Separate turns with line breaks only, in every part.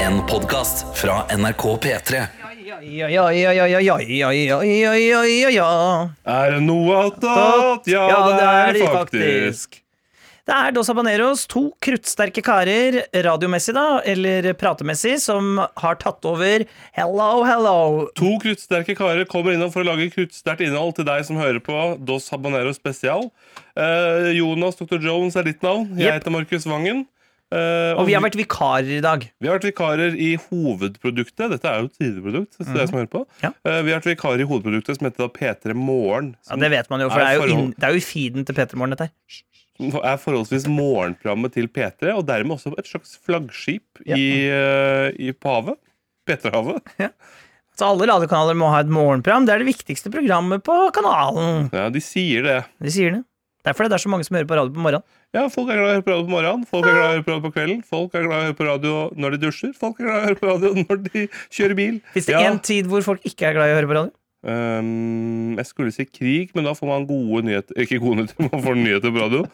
En podcast fra NRK P3
Ja, ja, ja, ja, ja, ja, ja, ja, ja, ja, ja, ja, ja.
Er det noe attåt? Ja, det er det faktisk.
Det er Dos Habaneros, to kruttsterke karer, radiomessig da, eller pratemessig, som har tatt over Hello, hello.
To kruttsterke karer kommer innom for å lage kruttsterkt innhold til deg som hører på Dos Habanero Spesial. Eh, Jonas Dr. Jones er ditt navn. Jeg
Jepp.
heter Markus Vangen. Eh,
Og vi har vært vikarer i dag.
vi har vært vikarer i hovedproduktet. Dette er jo et sideprodukt. til deg som hører på
Mhm. Ja.
Eh, Vi har vært vikarer i hovedproduktet som heter da P3 Morgen.
Ja,
Som
det vet man jo, for det
Er
er jo,
forhold-
inn, det er jo i feeden til Peter Morgen, dette her.
er forholdsvis morgenprogrammet til P3, og dermed også et slags flaggskip i, eh, i på havet. P3-havet.
Så alle radiokanaler må ha et morgenprogram. Det er det viktigste programmet på kanalen.
Ja, de sier det.
De sier det. Derfor er det så mange som hører på radio på morgenen.
Ja, folk er glad i å høre på radio på morgenen, folk er glad i å høre på radio på kvelden, folk er glad i å høre på radio når de dusjer, folk er glad i å høre på radio når de kjører bil.
Fins det
ja.
én tid hvor folk ikke er glad i å høre på radio?
Øhm, ehm, jeg skulle si krig, men da får man gode nyheter Ikke gode nyheter, man får nyheter på radio.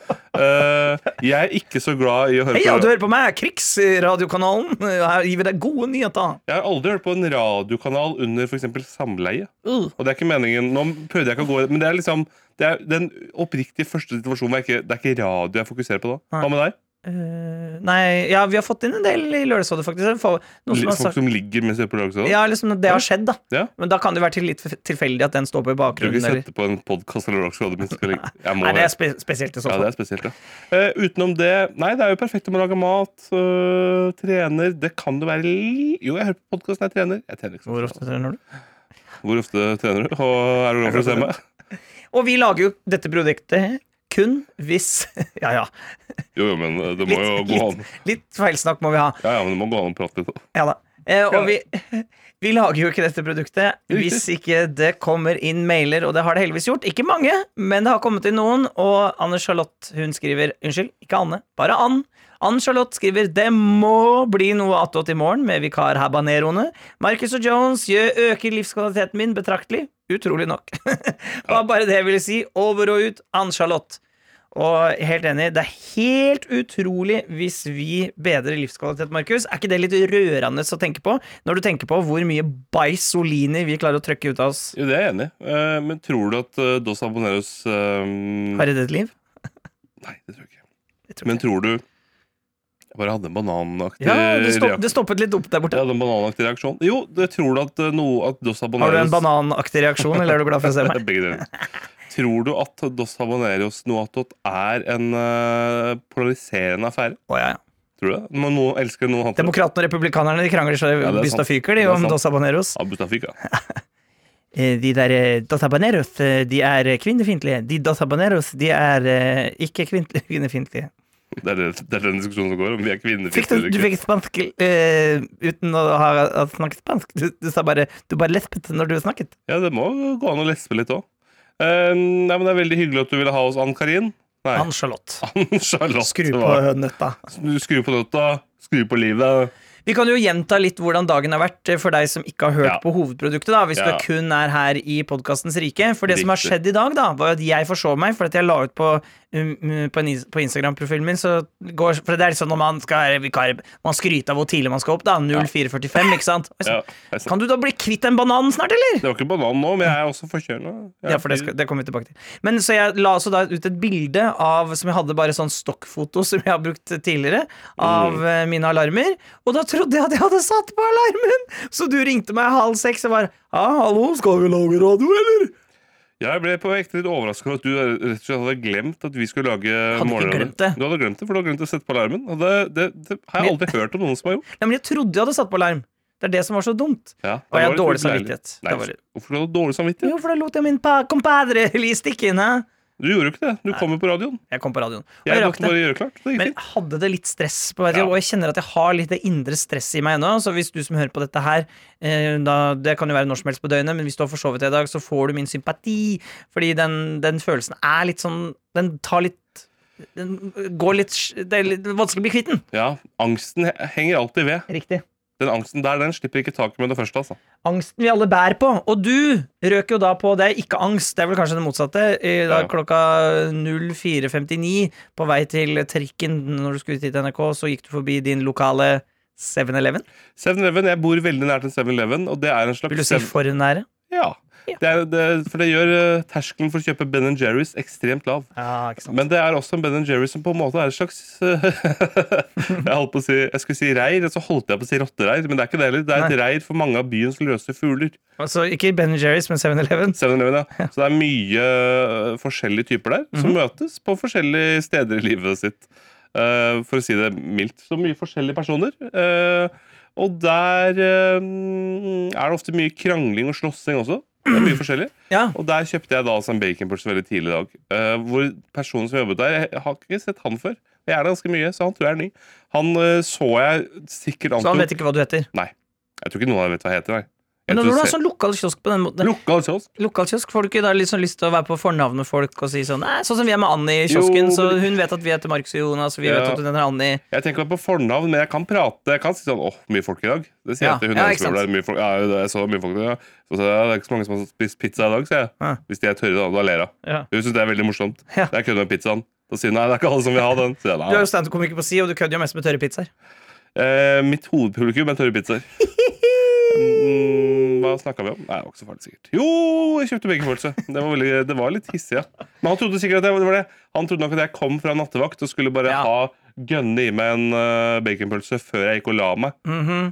Eh, jeg er ikke så glad i å høre
Hei,
på
ja, du
radio.
hører på meg, krigsradiokanalen. Her gir vi deg gode nyheter.
Jeg har aldri hørt på en radiokanal under f.eks. samleie.
Uh.
Og det er ikke meningen, nå prøvde jeg ikke å gå Men det er liksom det er den oppriktige første situasjonen hvor jeg ikke, det er ikke radio jeg fokuserer på da. Hva med deg?
Eh, nei, ja, vi har fått inn en del i Lørdagsrådet, faktisk. Det er få- Noe som har
Folk
sagt,
som ligger mens de hører på radio?
ja, liksom, det har skjedd, da.
Ja.
Men da kan det jo være til litt tilfeldig at den står på i
Du vil
bakgrunnen.
ikke
Eller.
sette på en podkast eller rockskade mens du skal ligge Jeg må
Nei, det er
det.
spe spesielt i så
Ja,
fall.
det er spesielt, ja. Eh, utenom det Nei, det er jo perfekt om å lage mat, øh, trener Det kan det være li... Jo, jeg hører på podkast når jeg trener. Jeg trener ikke så
Hvor
ofte.
ofte trener du?
Hvor ofte trener du? Og er du glad for å se meg?
Og vi lager jo dette produktet kun hvis Ja, ja.
Jo, jo, men eh, det må jo
Litt,
gå an
litt, litt feilsnakk må vi ha.
Ja, ja, men det må gå an å prate litt. da.
Ja da. Eh, og vi, vi lager jo ikke dette produktet
Riktig.
hvis ikke det kommer inn mailer, og det har det heldigvis gjort. Ikke mange, men det har kommet inn noen, og Anne Charlotte hun skriver Unnskyld, ikke Anne, bare Ann. Ann Charlotte skriver 'Det må bli noe attåt i morgen med vikar habaneroene'. Marcus og Jones gjør øker livskvaliteten min betraktelig. Utrolig nok. Det var bare det jeg ville si. Over og ut, Ann Charlotte. Og helt enig, det er helt utrolig hvis vi bedrer livskvalitet, Markus. Er ikke det litt rørende å tenke på, når du tenker på hvor mye Baisolini vi klarer å trøkke ut av oss
Jo, det er jeg enig i. Eh, men tror du at eh, Dos Aboneros eh,
her i ditt liv?
Nei, det tror jeg ikke.
Det tror jeg
Men tror du Jeg bare hadde en bananaktig
Ja, det, stopp,
reaksjon.
det stoppet litt opp der
Jeg
borte.
hadde en bananaktig reaksjon. Jo, det tror du at eh, noe at Dos Aboneros
Har du en bananaktig reaksjon, eller er du glad for å se meg?
Begge deler. Tror du at Dos Habaneros Noatot er en eh, polariserende affære?
Å, ja, ja.
Tror du det? Men noen elsker noen hater det.
Demokratene og republikanerne de krangler så
det er
bysta
sant.
fyker, de,
Det er
om
sant.
Dos Habaneros.
Ja, Bustafik, ja.
Eh, De der eh, Dos Habaneros, eh, de er eh, kvinnefiendtlige. De Dos Habaneros, de er eh, ikke kvin- kvinnefiendtlige.
Det er, det, det er den diskusjonen som går om vi er kvinner
Fikk du,
eller
du
ikke.
fikk spansk eh, uten å ha, ha snakket spansk. Du, du sa bare Du bare lespet når du snakket.
Ja, det må gå an å lespe litt òg. nei, men det er veldig hyggelig at du ville ha oss, Ann-Karin. Nei,
Ann-Charlotte.
Charlotte.
Skru på
det var-
nøtta.
Du Skru på nøtta, skru på livet.
Vi kan jo gjenta litt hvordan dagen har vært eh, for deg som ikke har hørt
Ja.
på hovedproduktet, da, hvis
Ja.
du kun er her i podkastens rike. For det som har
Riktig.
skjedd i dag, da, var at jeg forsov meg, for at jeg la ut på, um, um, på, en is- på Instagram-profilen min så går, For det er sånn når man skal være vikar, man skryter av hvor tidlig man skal opp, da. 04.45, ikke sant? Og jeg
Ja,
sa,
det er sant.
Kan du da bli kvitt den bananen snart, eller?
det var ikke banan nå, men jeg er også forkjøla. Jeg
Ja, for det, skal, det kommer vi tilbake til. Men Så jeg la også da ut et bilde av som jeg hadde bare sånn stokkfoto som jeg har brukt tidligere, av eh, mine alarmer. Og da trodde jeg at jeg hadde satt på alarmen! Så du ringte meg halv seks og bare Ja, hallo, skal vi lage radio, eller?
Jeg ble på ekte litt overraska over at du rett og slett hadde glemt at vi skulle lage
ikke
morgenradio.
glemt det.
Du hadde glemt det, for du hadde glemt å sette på alarmen. Og det, det, det har jeg aldri hørt om noen som har gjort.
Ja, men jeg trodde jeg hadde satt på alarm. Det er det som var så dumt.
Ja,
Og jeg
det
har dårlig
var litt uleilig.
samvittighet.
Nei,
Det var-
Hvorfor hadde du dårlig samvittighet?
Jo, for da lot jeg min pa compadre Li stikke inn, hæ?
Du gjorde jo ikke det. Du kom jo på radioen.
Jeg kom på radioen. Og
Jeg
jeg rakk
måtte
det.
bare gjøre klart. Det gikk
Men
fint.
hadde det litt stress på vei til
Ja.
jobb, og jeg kjenner at jeg har litt det indre stresset i meg ennå. Så hvis du som hører på dette her, eh, da, det kan jo være når som helst på døgnet, men hvis du har forsovet deg i dag, så får du min sympati. Fordi den, den følelsen er litt sånn Den tar litt Den går litt Det er litt vanskelig å bli kvitt den.
Ja, angsten he- henger alltid ved.
Riktig.
Den angsten der, den slipper ikke taket med det første, altså.
Angsten vi alle bærer på. Og du røk jo da på Det er ikke angst, det er vel kanskje det motsatte. I dag
Ja.
klokka 04.59 på vei til trikken når du skulle hit til NRK, så gikk du forbi din lokale 7-Eleven?
7-Eleven, Jeg bor veldig nært en 7-Eleven, og det er en slags
Vil du si
7-Eleven
for nære?
Ja.
Ja.
Det er, det, for det gjør eh, terskelen for å kjøpe Ben Jerry's ekstremt lav.
Ja, ikke sant.
Men det er også en Ben Jerry's som på en måte er et slags eh, Jeg holdt på å si, jeg skulle si reir, og så holdt jeg på å si rottereir. Men det er ikke det heller. Det er et reir for mange av byens løse fugler.
Altså, ikke Ben Jerry's, men 7-Eleven.
7-Eleven, ja. Så det er mye eh, forskjellige typer der som møtes på forskjellige steder i livet sitt. Eh, for å si det mildt. Så mye forskjellige personer. Eh, og der eh, er det ofte mye krangling og slåssing også. Det er mye forskjellig.
Ja.
Og der kjøpte jeg da altså en baconpølse veldig tidlig i dag. eh, hvor personen som jobbet der, jeg har ikke sett han før. Jeg er der ganske mye, så han tror jeg er ny. Han eh, så jeg sikkert
Så han
antok
vet ikke hva du heter.
Jeg tror ikke noen av dem vet hva jeg heter, nei. Jeg
Men når
tror
du har
se-
sånn lokal kiosk på den måten
Lokal kiosk.
Lokal kiosk, får du ikke da litt sånn lyst til å være på fornavn med folk og si sånn Nei, sånn som vi er med Anni i kiosken,
Jo,
så
men-
hun vet at vi heter Markus og Jonas, og vi vet
Ja.
at hun heter Anni.
Jeg tenker på fornavn, men jeg kan prate. Jeg kan si sånn åh, mye folk i dag. Det sier
Ja,
jeg til hun
ja,
ene
ikke
som jobber
sant.
der. Mye folk, ja, det er så mye folk i dag. ja. Så, sa jeg, det er ikke så mange som har spist pizza i dag, sier jeg.
Ja.
Hvis de er tørre, da, da ler hun.
Ja.
Hun syns det er veldig morsomt.
Ja.
Det er kødd med pizzaen. Da sier hun nei, det er ikke alle som vil ha den. Så sier jeg,
Du er
nei.
jo standup-komiker på si, og du kødder jo mest med tørre pizzaer.
Eh, mitt hovedpublikum er tørre pizzaer. Mm, hva snakka vi om? Nei, det var ikke så farlig, sikkert. Jo, jeg kjøpte baconpølse. Det, var veldig- det var litt hissig, ja. Men han trodde sikkert at jeg, det var det. Han trodde nok at jeg kom fra nattevakt og skulle bare
Ja.
ha gønne i meg en eh, baconpølse før jeg gikk og la meg.
Mhm.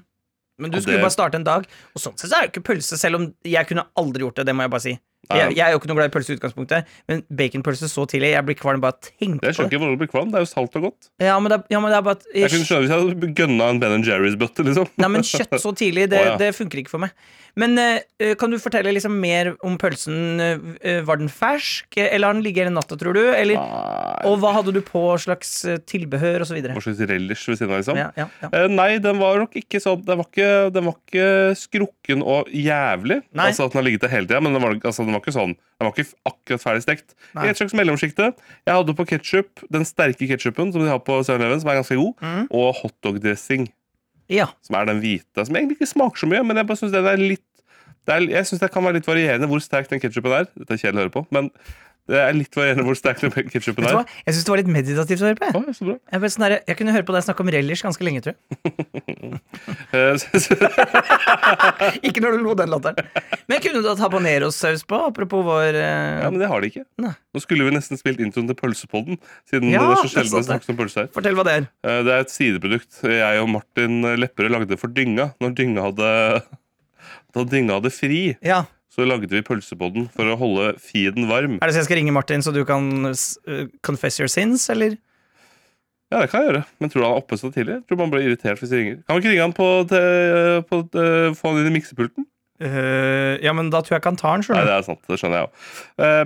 Men du
Og
skulle
det-
bare starte en dag, og sånn sett så er det jo ikke pølse, selv om jeg kunne aldri gjort det, det må jeg bare si.
Nei.
Jeg, jeg er jo ikke noe glad i pølse i utgangspunktet, men baconpølse så tidlig, jeg blir kvalm bare av å tenke på
Jeg
det.
skjønner ikke hvordan det blir kvalm. Det er jo salt og godt.
Ja, men det, er- ja, men det er bare at
Jeg kunne skjønne hvis jeg hadde gønna en Ben Jerry's-bøtte. liksom
Nei, men kjøtt så tidlig, det,
Å, ja.
det funker ikke for meg. Men eh, eh, kan du fortelle liksom mer om pølsen? Eh, var den fersk, eh, eller har den ligget hele natta, tror du? Eller,
Nei,
og hva hadde du på slags eh, tilbehør, og så videre?
Hva slags relish ved siden av, liksom?
Ja, ja, ja.
Eh, nei, den var nok ikke sånn Den var ikke, den var ikke skrukken og jævlig.
Nei.
Altså at den har ligget der hele tida, men den var, altså, den var ikke sånn Den var ikke akkurat ferdig stekt.
Nei.
I et slags mellomsjikte. Jeg hadde på ketsjup, den sterke ketsjupen som de har på 7-Eleven, som er ganske god,
Mm.
og hotdog-dressing,
ja.
som er den hvite, som egentlig ikke smaker så mye, men jeg bare syns den er litt det er, Jeg synes det kan være litt varierende hvor sterk den ketsjupen er. Dette er kjedelig å høre på, men det er litt varierende hvor sterk den
Vet
ketsjupen
du
er.
hva? Jeg syns det var litt meditativt å høre på. Jeg.
Å, så bra.
Jeg, ble sånn der, jeg kunne høre på deg snakke om relish ganske lenge, tror jeg.
Eh, så- så-
Ikke når du lo den latteren. Men kunne du hatt habanerosaus på, apropos vår eh,
Ja, men det har de ikke.
Nei.
Nå skulle vi nesten spilt introen til Pølsepodden, siden
Ja,
det er
det
så
er
sjelden det
sant det.
snakkes om pølse her.
Fortell hva det er.
Eh, Det er et sideprodukt jeg og Martin Lepperød lagde for Dynga. Når Dynga hadde, da Dynga hadde fri,
Ja.
så lagde vi Pølsepodden for å holde feeden varm.
Er det så jeg skal ringe Martin, så du kan s- eh, confess your sins, eller?
Ja, det kan jeg gjøre. Men tror du han er oppe så tidlig? Tror du man blir irritert hvis de ringer? Kan vi ikke ringe han på, til, på til, få han inn i miksepulten?
Eh, ja, men da tror jeg ikke han tar den,
Nei,
skjønner du.
det er sant. Det skjønner jeg òg.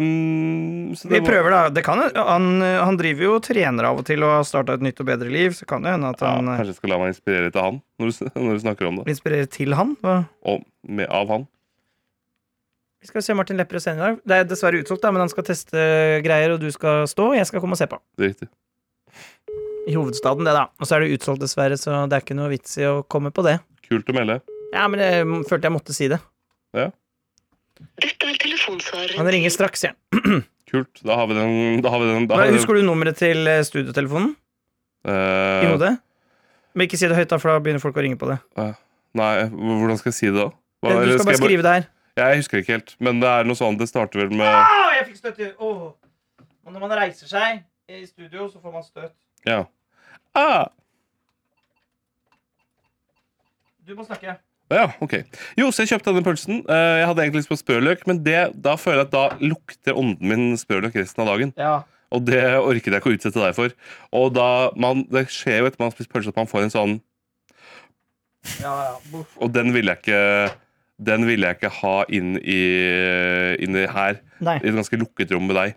Um, så
Vi
det var-
prøver, da. Det kan, jo- han, han driver jo og trener av og til og har starta et nytt og bedre liv, så kan det hende at
ja,
han eh,
Kanskje jeg skal la meg inspirere litt av han når du, s- når du snakker om det.
inspirerer til han. Hva-
Og med, av han.
Vi skal se Martin Lepperød senere i dag. Det er dessverre utsolgt, da, men han skal teste greier, og du skal stå, og jeg skal komme og se på.
Det er riktig.
I hovedstaden, det, da. Og så er det utsolgt, dessverre, så det er ikke noe vits i å komme på det.
Kult å melde.
Ja, men jeg mm, følte jeg måtte si det.
Dette er telefonsvareren.
Han ringer straks, jeg.
Kult. Da har vi den. Da har vi den, da har
Ja.
vi den.
Husker du nummeret til eh, studiotelefonen i
Eh,
hodet? Men ikke si det høyt, da, for da begynner folk å ringe på det.
Nei, h- hvordan skal jeg si det, da? Hva-
Du
eller
skal bare
jeg,
skrive det her.
jeg husker ikke helt, men det er noe sånn Det starter vel med
Au, jeg fikk støt i Åh. Og når man reiser seg i studio, så får man støt.
Ja. Ah,
Du må snakke.
ja, ok. Jo, så jeg kjøpte denne pølsen. Eh, jeg hadde egentlig lyst på sprøløk, men det, da føler jeg at da lukter ånden min sprøløk resten av dagen.
Ja.
Og det orket jeg ikke å utsette deg for. Og da, man, Det skjer jo etter man har spist pølse at man får en sånn
Ja, ja. Buff.
Og den ville jeg ikke Den ville jeg ikke ha inn i, inn i her.
Nei.
i et ganske lukket rom med deg.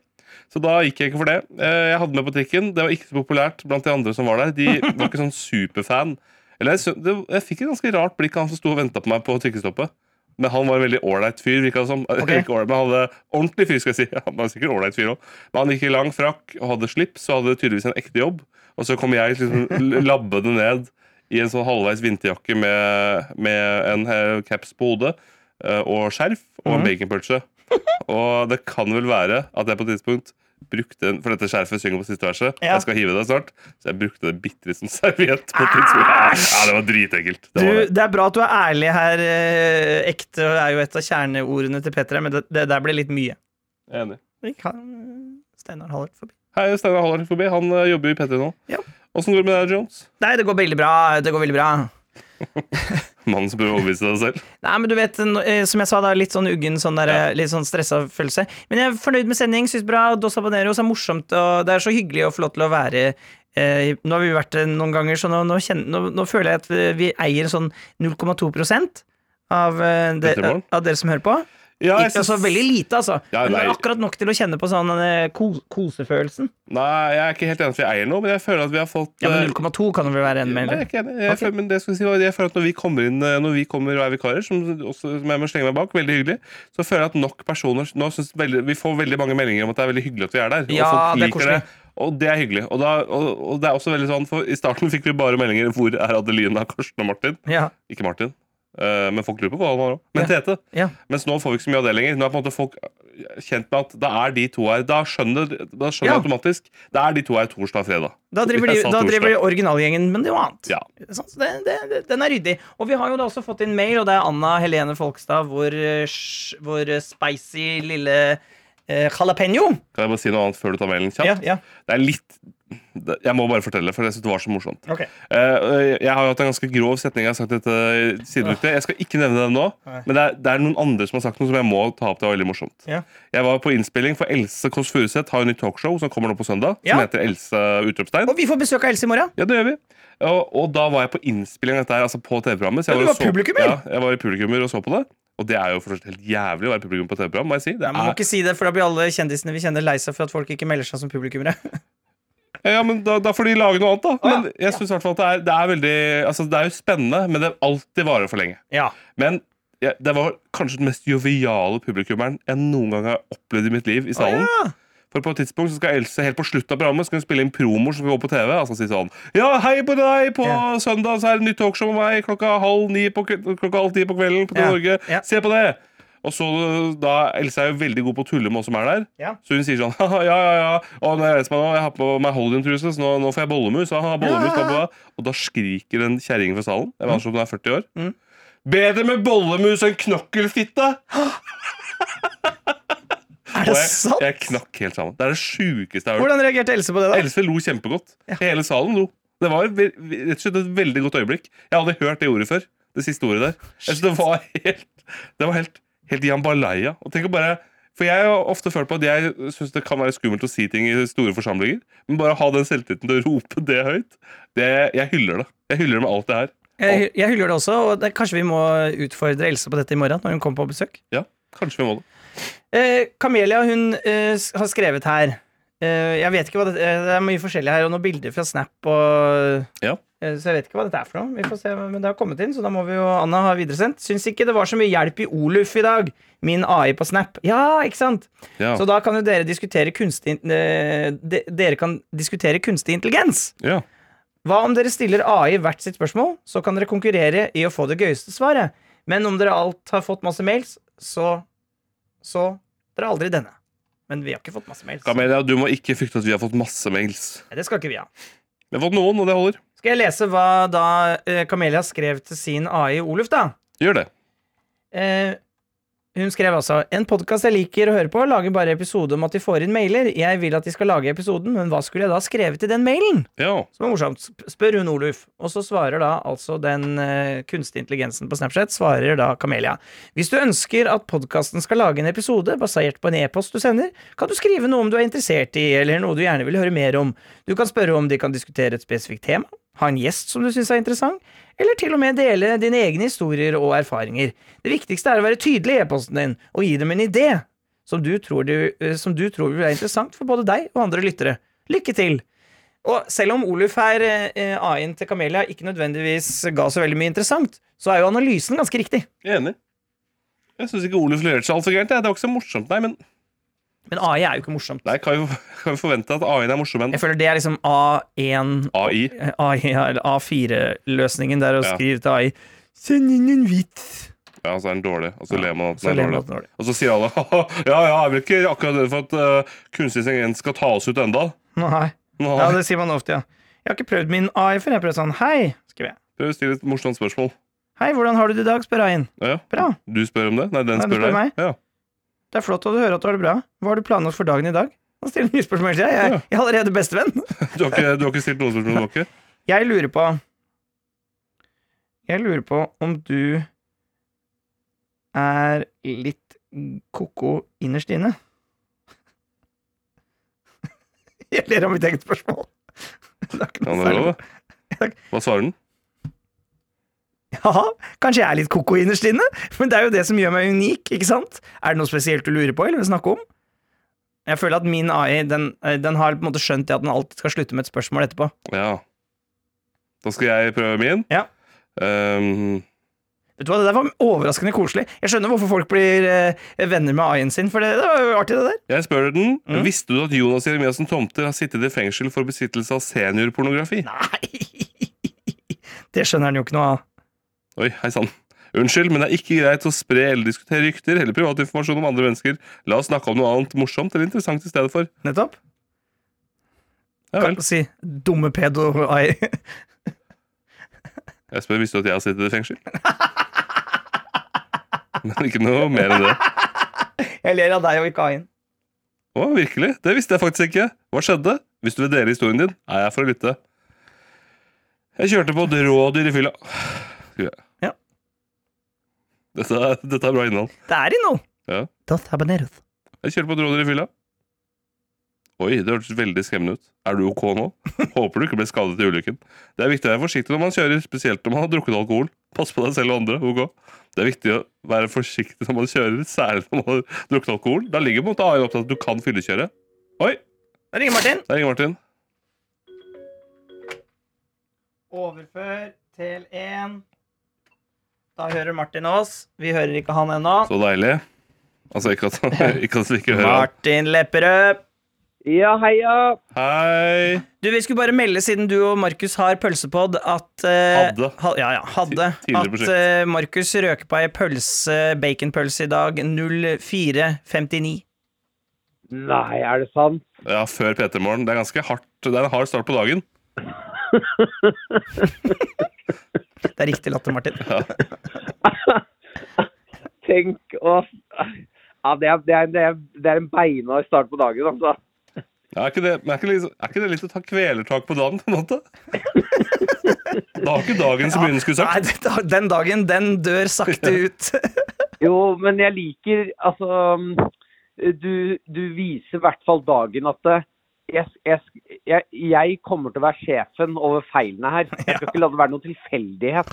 Så da gikk jeg ikke for det. Eh, Jeg hadde med på trikken. Det var ikke så populært blant de andre som var der. De var ikke sånn superfan. Eller jeg, sy- det, jeg fikk et ganske rart blikk av han som sto og venta på meg på trikkestoppet. Men han var en veldig ålreit fyr. virka det som.
Ok.
Ikke ålreit, men han hadde ordentlig fyr, skal jeg si. Han var sikkert ålreit fyr også. Men han gikk i lang frakk og hadde slips og hadde tydeligvis en ekte jobb. Og så kom jeg liksom l- labbende ned i en sånn halvveis vinterjakke med, med en eh, caps på hodet eh, og skjerf og en baconpølse. Og det kan vel være at jeg på et tidspunkt brukte en, For dette skjerfet synger på siste verset.
Ja.
Jeg skal hive deg snart. Så jeg brukte det bitte litt som serviett. på tidspunktet. Ja, Det var dritekkelt.
Du,
Det var det.
det er bra at du er ærlig her. eh, Ekte er jo et av kjerneordene til P3, men det, det der ble litt mye.
Jeg er Enig.
Vi kan Steinar Haller forbi.
Hei, Steinar Hallard forbi. Han eh, jobber jo i P3 nå.
Ja.
Åssen går det med deg, Jones?
Nei, det går veldig bra. Det går veldig bra.
Mannen som prøver å overbevise deg selv.
Nei, men du vet, n- eh, som jeg sa, da, litt sånn uggen, sånn der, eh, litt sånn stressa følelse. Men jeg er fornøyd med sending. Syns bra. Dos Abaneros er morsomt, og det er så hyggelig å få lov til å være eh, Nå har vi jo vært det noen ganger, så nå, nå, kjenner, nå, nå føler jeg at vi, vi eier sånn 0,2 av, eh, de,
Petremorgen?
av dere som hører på.
Ja, jeg
Ikke, altså,
syns-
veldig lite, altså.
Ja,
men
nei.
akkurat nok til å kjenne på sånn eh, ko- kosefølelsen.
Nei, jeg er ikke helt enig i at vi eier noe, men jeg føler at vi har fått
Ja,
eh,
men 0,2 kan det vel være enda mer?
Nei,
eller?
jeg er ikke enig. Jeg
Ok.
føler, men det jeg skulle si var, jeg føler at når vi kommer inn eh, Når vi kommer og er vikarer, som, også, som jeg må slenge meg bak, veldig hyggelig, så føler jeg at nok personer Nå synes veldig, Vi får veldig mange meldinger om at det er veldig hyggelig at vi er der.
Ja,
og
det er koselig.
Og det er hyggelig. Og, da, og, og det er også veldig sånn For i starten fikk vi bare meldinger Hvor er Adelina, Karsten og Martin?
Ja.
Ikke Martin, eh, men folk lurer på hva han var òg. Men Tete.
Ja.
Mens nå får vi ikke så mye av det lenger. Nå er på en måte folk eh, kjent med at det er de to her. Da skjønner, da skjønner
Ja.
automatisk Det er de to her torsdag og fredag.
Da driver,
Jeg
de,
sa
da driver de
torsdag.
originalgjengen, men det er jo annet.
Ja.
Sånn, så det, det, det, den er ryddig. Og vi har jo da også fått inn mail, og det er Anna Helene Folkstad, vår, eh, sj- vår eh, spicy lille eh, jalapeño.
Kan jeg bare si noe annet før du tar mailen? kjapt?
Ja, ja.
Det er litt det- Jeg må bare fortelle, for jeg synes det var så morsomt.
Ok.
Eh, Jeg har jo hatt en ganske grov setning. Jeg har sagt dette i sidebuktet. Jeg skal ikke nevne den nå,
Nei.
men det er, det er noen andre som har sagt noe som jeg må ta opp. Det var veldig morsomt.
Ja.
Jeg var på innspilling, for Else Kåss Furuseth har jo nytt talkshow som kommer nå på søndag, som
Ja.
heter Else Utropstegn.
Og vi får besøk av Else i morgen.
Ja, det gjør vi. Og, og da var jeg på innspilling av dette her, altså på TV-programmet. så
Ja,
jeg
du
og
var publikummer?
Ja, jeg var i publikummer og så på det. Og det er jo forstått helt jævlig å være publikum på TV-program, må jeg si.
Nei,
Det
man må
er,
ikke si det, for da blir alle kjendisene vi kjenner lei seg for at folk ikke melder seg som publikummere.
ja, men da, da får de lage noe annet, da.
ja.
Men jeg synes i hvert fall at det er, det er veldig Altså, det er jo spennende, men det alltid varer for lenge.
Ja.
Men ja, det var kanskje den mest joviale publikummeren jeg noen gang har opplevd i mitt liv i salen.
ja.
For på et tidspunkt så skal Else helt på slutt av programmet Skal hun spille inn promoer som går på TV. Altså si sånn Ja, hei på deg! På
Ja.
søndag så er det nytt talkshow med meg klokka halv ni på, kve- klokka halv ti på kvelden på
Ja.
Norge.
Ja.
Se på det! Og så da, Else er jo veldig god på å tulle med oss som er der.
Ja.
Så hun sier sånn «Haha, Ja, ja, ja. Og når jeg reiser meg nå, jeg har på meg Holdin-truse, så nå, nå får jeg bollemus. Haha, bollemus bla, bla, bla. Og da skriker en kjerring fra salen. Jeg var anslått hun er 40 år.
Mm.
Bedre med bollemus enn knokkelfitte!
Er
Og
det
jeg,
sant?
jeg knakk helt sammen. Det er det sjukeste jeg har hørt.
Hvordan reagerte Else på det, da?
Else lo kjempegodt. Hele salen lo. Det var ve- ve- rett og slett et veldig godt øyeblikk. Jeg hadde hørt det ordet før. Det siste ordet der. Jeg synes det var helt Det var helt, helt jambalaya. Og tenk å bare For jeg har ofte følt på at jeg syns det kan være skummelt å si ting i store forsamlinger. Men bare ha den selvtilliten til å rope det høyt, det, jeg hyller det. Jeg hyller det med alt det her.
Jeg, jeg hyller det også, og det, kanskje vi må utfordre Else på dette i morgen, når hun kommer på besøk.
Ja, kanskje vi må det.
Eh, Kamelia hun eh, s- har skrevet her eh, Jeg vet ikke hva det, eh, det er mye forskjellig her, og noen bilder fra Snap og
Ja.
eh, Så jeg vet ikke hva dette er for noe. Vi får se, men det har kommet inn, så da må vi jo Anna ha videresendt. Syns ikke det var så mye hjelp i Oluf i dag. Min AI på Snap. Ja, ikke sant?
Ja.
Så da kan jo dere diskutere kunstig eh, de, Dere kan diskutere kunstig intelligens.
ja.
Hva om dere stiller AI hvert sitt spørsmål, så kan dere konkurrere i å få det gøyeste svaret. Men om dere alt har fått masse mails, så Så dere har aldri denne. Men vi har ikke fått masse mails. Nei,
Kamelia, du må ikke frykte at vi har fått masse mails.
det skal ikke vi ha.
Vi har fått noen, og det holder.
Skal jeg lese hva da eh, Kamelia skrev til sin AI Oluf, da?
Gjør det.
Eh, hun skrev altså En podkast jeg liker å høre på, lager bare episode om at de får inn mailer. Jeg vil at de skal lage episoden, men hva skulle jeg da skrevet i den mailen?
Ja.
Som er morsomt. Sp- Spør hun Oluf, og så svarer da altså den eh, kunstige intelligensen på Snapchat, svarer da Kamelia. Hvis du ønsker at podkasten skal lage en episode basert på en e-post du sender, kan du skrive noe om du er interessert i, eller noe du gjerne vil høre mer om. Du kan spørre om de kan diskutere et spesifikt tema, ha en gjest som du syns er interessant, eller til og med dele dine egne historier og erfaringer. Det viktigste er å være tydelig i e-posten din, og gi dem en idé som du tror, du, eh, som du tror vil være interessant for både deg og andre lyttere. Lykke til! Og selv om Oluf her, eh, AI-en til Kamelia, ikke nødvendigvis ga så veldig mye interessant, så er jo analysen ganske riktig.
Jeg er enig. Jeg syns ikke Oluf leverte seg altfor gærent. jeg. Det var ikke så morsomt, nei. Men
Men AI er jo ikke morsomt.
nei, kan, vi, kan vi forvente at AI-en er morsom enn
Jeg føler det er liksom A1
AI?
eh, AI, eller A4-løsningen der å
Ja.
skrive til AI Send inn en vits.
Ja, så er den dårlig, og så
Ja,
ler man at
så
den
ler
er
man at
dårlig.
den er dårlig.
Og så sier alle ja, ja, jeg vil ikke akkurat det for at eh, kunstig intelligens skal ta oss ut enda.
Nei.
Nå
Ja,
har
det sier man ofte, ja. Jeg har ikke prøvd min AI før. Jeg prøvde sånn Hei, skriver jeg.
Prøv å stille et morsomt spørsmål.
Hei, hvordan har du det i dag? spør AI-en.
Ja, ja.
Bra.
Du spør om det? Nei, den
Nei, du
spør,
spør
deg.
meg.
Ja.
Det er flott at du hører at du har det bra. Hva har du planlagt for dagen i dag? Han stiller nye spørsmål, sier jeg. Jeg- Jeg er allerede bestevenn.
Du, har ikke, du har ikke stilt noen spørsmål tilbake?
Jeg lurer på Jeg lurer på om du er litt ko-ko innerst inne. Jeg ler av mitt eget spørsmål. Det er ikke
Ja,
noe
det er
særlig.
lov, det. Hva svarer den?
Ja, kanskje jeg er litt ko-ko innerst inne, men det er jo det som gjør meg unik, ikke sant? Er det noe spesielt du lurer på, eller vil snakke om? Jeg føler at min AI, den, eh, den har på en måte skjønt det at den alltid skal slutte med et spørsmål etterpå.
Ja. Da skal jeg prøve min.
Ja.
Ehm,
Vet du hva, det der var overraskende koselig. Jeg skjønner hvorfor folk blir eh, venner med AI-en sin, for det, det var jo artig, det der.
jeg spør den
Mm.
Visste du at Jonas Jeremiassen Tomter har sittet i fengsel for besittelse av seniorpornografi?
Nei! Det skjønner han jo ikke noe av.
Oi, hei sann. Unnskyld, men det er ikke greit å spre eller diskutere rykter eller privat informasjon om andre mennesker. La oss snakke om noe annet morsomt eller interessant i stedet for.
Nettopp.
Ja
Kan
vel.
du si dumme pedo-AI.
Jeg spør, visste du at jeg har sittet i fengsel? Men ikke noe mer enn det.
Jeg ler av deg og ikke AI-en.
Å, virkelig? Det visste jeg faktisk ikke. Hva skjedde? Hvis du vil dele historien din, er jeg for å lytte. Jeg kjørte på et rådyr i fylla. Skriver jeg.
Ja.
Dette er, dette er bra innhold.
Det er i noe.
Ja.
Dos habaneros.
Jeg kjørte på et rådyr i fylla. Oi, det hørtes veldig skremmende ut. Er du ok nå? Håper du ikke ble skadet i ulykken. Det er viktig å være forsiktig når man kjører, spesielt når man har drukket alkohol. Pass på deg selv og andre, ok? Det er viktig å være forsiktig når man kjører, særlig når man har drukket alkohol. Da ligger på en måte AI opp til at du kan fyllekjøre. Oi,
Da ringer Martin.
der ringer Martin.
Overfør til 1. Da hører Martin oss. Vi hører ikke han ennå.
Så deilig. Altså, ikke at, ikke at vi ikke hører han.
Martin Lepperød.
Ja, heia!
Hei!
Du, Vi skulle bare melde, siden du og Markus har pølsepod, at eh,
Hadde.
Ha, ja, ja, hadde
Ti- tidligere
At
prosjekt.
eh, Markus røker på ei pølse, baconpølse i dag 04.59.
Nei, er det sant?
Ja, før P3-morgen. Det er ganske hardt. Det er en hard start på dagen.
Det er riktig latter, Martin.
Tenk å ja, det, er, det, er, det, er, det er en beinhard start på dagen, altså.
Ja, er, ikke det, men er, ikke det, litt- er ikke det litt å ta kvelertak på dagen, på en måte? Da har ikke dagen så mye den skulle
Nei,
sagt.
det- den dagen, den dør sakte ut.
Jo, men jeg liker Altså, du, du viser i hvert fall dagen at det- jeg, jeg, jeg, jeg kommer til å være sjefen over feilene her. Jeg skal ikke la det være noen tilfeldighet.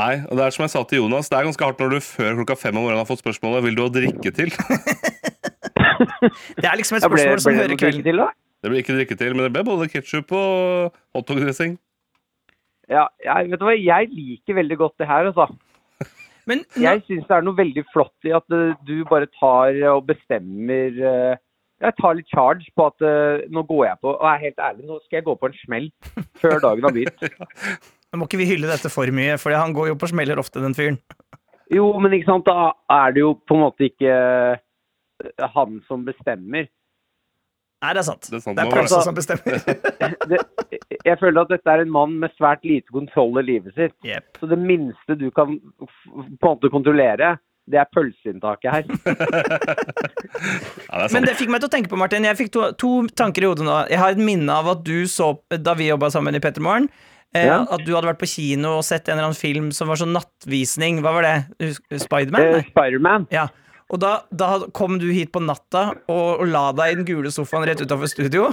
Nei, og det er som jeg sa til Jonas, det er ganske hardt når du før klokka fem om morgenen har fått spørsmålet Vil du ha drikke til. Det
Det er liksom et
Jeg ble,
spørsmål som
ble det
hører
noe drikke
kvelden.
til, da?
ble ikke drikke til, men det ble både ketsjup og hotdog-dressing.
Ja, jeg, vet du hva, jeg liker veldig godt det her, altså.
Men
Jeg syns det er noe veldig flott i at eh, du bare tar eh, og bestemmer eh, Jeg tar litt charge på at eh, nå går jeg på Og jeg er helt ærlig, nå skal jeg gå på en smell før dagen har begynt.
nå må ikke vi hylle dette for mye, for han går jo på smeller ofte, den fyren.
Jo, men ikke sant, da er det jo på en måte ikke eh, han som bestemmer.
Nei, det er sant.
Det er sant,
det er
man må
pølsa
være-
som bestemmer.
Det, jeg føler at dette er en mann med svært lite kontroll i livet sitt.
Jepp.
Så det minste du kan f- på en måte kontrollere, det er pølseinntaket her.
Ja, det er
Men
sant.
det fikk meg til å tenke på, Martin. Jeg fikk to, to tanker i hodet nå. Jeg har et minne av at du så, da vi jobba sammen i Pettermorgen, eh,
Ja.
at du hadde vært på kino og sett en eller annen film som var sånn nattvisning. Hva var det? Hus- Spiderman?
Eh,
Nei.
Spiderman.
Ja. Og da, da kom du hit på natta og, og la deg i den gule sofaen rett utafor studio.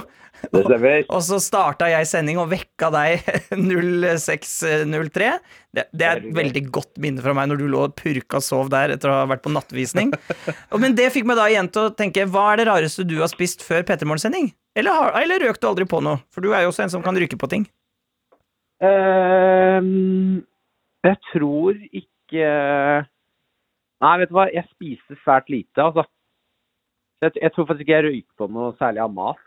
Det stemmer.
Og så starta jeg sending og vekka deg 06.03. Det, det er et veldig godt minne fra meg når du lå og purka og sov der etter å ha vært på nattvisning. Og, men det fikk meg da igjen til å tenke hva er det rareste du har spist før P3 Morgen-sending? Eller, har- eller røk du aldri på noe? For du er jo også en som kan ryke på ting.
Ehm, jeg tror ikke Nei, vet du hva, jeg spiste svært lite, altså. Så Jeg, jeg tror faktisk ikke jeg røyker på noe særlig av mat.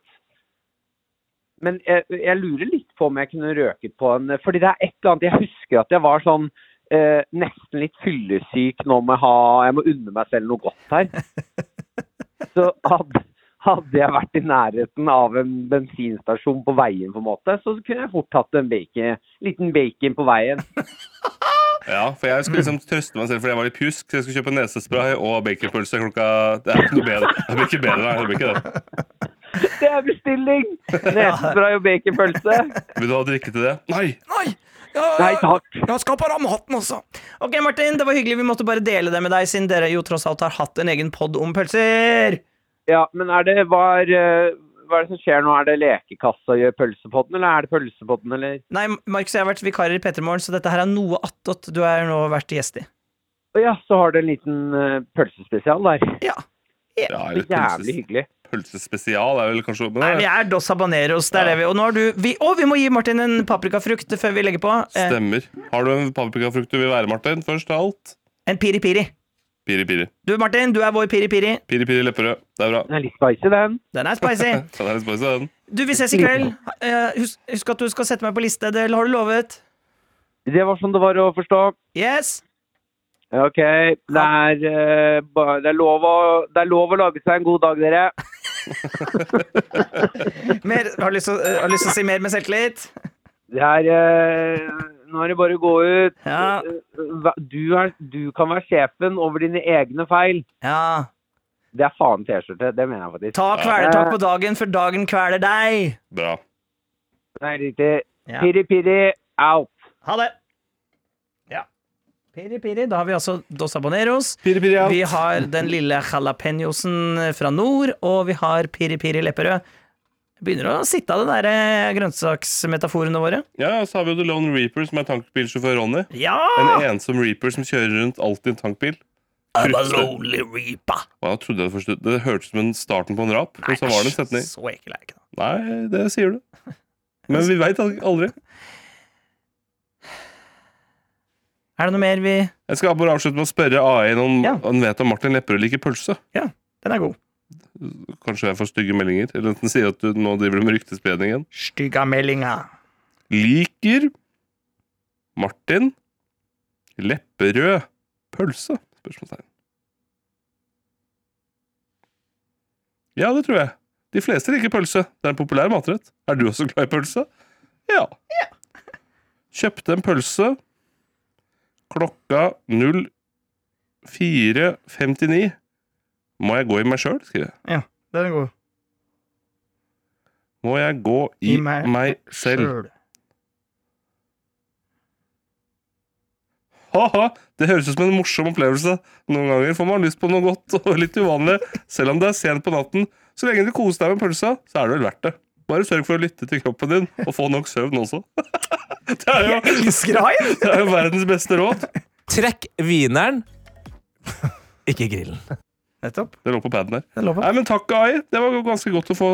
Men jeg, jeg lurer litt på om jeg kunne røket på en Fordi det er et eller annet Jeg husker at jeg var sånn eh, nesten litt fyllesyk, nå må jeg, ha, jeg må unne meg selv noe godt her. Så hadde, hadde jeg vært i nærheten av en bensinstasjon på veien, på en måte, så kunne jeg fort tatt en bacon, liten bacon på veien.
Ja, for jeg skulle liksom trøste meg selv fordi jeg var litt pjusk, så jeg skulle kjøpe nesespray og baconpølse klokka Det er ikke noe bedre. Det blir ikke bedre, nei. Det blir ikke det.
Det er bestilling! Nesespray og baconpølse.
Vil du ha drikke til det? Nei!
Oi!
Nei
Ja,
takk.
jeg skal bare ha maten også. Ok, Martin, det var hyggelig. Vi måtte bare dele det med deg, siden dere jo tross alt har hatt en egen pod om pølser.
Ja, men er det hva er, eh, hva er det som skjer nå? Er det lekekassa gjør pølsepodden, eller er det pølsepodden, eller?
Nei, Markus, jeg har vært vikarer i P3morgen, så dette her er noe attåt du har nå vært gjest i.
Å ja, så har du en liten eh, pølsespesial der.
Ja.
Ja,
Så
eller
Jævlig
pølses,
hyggelig.
pølsespesial er vel kanskje men
Nei, vi
det
er Dos Habaneros. Det er
Ja.
det vi. Og nå har du vi, Å, vi må gi Martin en paprikafrukt før vi legger på. Eh,
Stemmer. Har du en paprikafrukt du vil være, Martin? Først av alt.
en piri-piri.
Piri Piri.
Du, Martin, du er vår piri-piri.
Piri Piri Lepperød. Det er bra.
Den er litt spicy, den.
Den er spicy.
Den er litt spicy, den.
Du, vi ses i kveld. Eh, husk, husk at du skal sette meg på liste. Det har du lovet.
Det var sånn det var å forstå.
Yes!
OK. Det er, eh, ba- det, er lov å, det er lov å lage seg en god dag, dere.
Mer, har, du lyst til, å- eh, har du lyst til å si mer med selvtillit?
Det er eh, Nå er det bare å gå ut.
Ja.
Eh, hva- Du, er, du kan være sjefen over dine egne feil.
Ja.
Det er faen T-skjorte. Det mener jeg faktisk.
Ta kvelertak på dagen før dagen kveler deg.
Bra.
Det er riktig.
Ja.
Piri-piri out.
Ha det. Ja. Piri-piri. Da har vi altså Dos Habaneros.
Piri Piri
Vi
out.
har den lille jalapeñosen fra nord, og vi har Piri Piri Lepperød. Begynner å sitte av det der eh, grønnsaksmetaforene våre.
Ja, og så har vi jo The Lone Reaper, som er tankbilsjåfør Ronny.
Ja!
En ensom reaper som kjører rundt alltid i en tankbil.
I'm a
Frukt.
lonely reaper.
Og jeg trodde jeg først, Det hørtes ut som en starten på en rap, men så var det en setning.
så ekkel er jeg ikke. da.
Nei, det sier du. Men vi veit aldri.
Er det noe mer vi
Jeg skal bare avslutte med å spørre AI om
Ja.
han vet om Martin Lepperød liker pølse.
Den er god.
Kanskje jeg får stygge meldinger. Eller enten sier at du nå driver du med ryktespredning igjen.
Stygga meldinga.
Liker Martin Lepperød pølse? Spørsmålstegn. Ja, det tror jeg. De fleste liker pølse. Det er en populær matrett. Er du også glad i pølse? Ja. Kjøpte en pølse klokka 04.59. Må jeg gå i meg sjøl, skriver jeg.
Den er god.
Må jeg gå i,
I meg
meg selv. Haha, det høres ut som en morsom opplevelse. Noen ganger får man lyst på noe godt og litt uvanlig, selv om det er sent på natten. Så lenge du koser deg med pølsa, så er det vel verdt det. Bare sørg for å lytte til kroppen din, og få nok søvn også. Det er jo,
Elsker haien!
det er jo verdens beste råd.
Trekk wieneren, ikke grillen.
Nettopp.
Det lå på paden der.
Den lå på.
Nei, men takk, AI. Det var ganske godt å få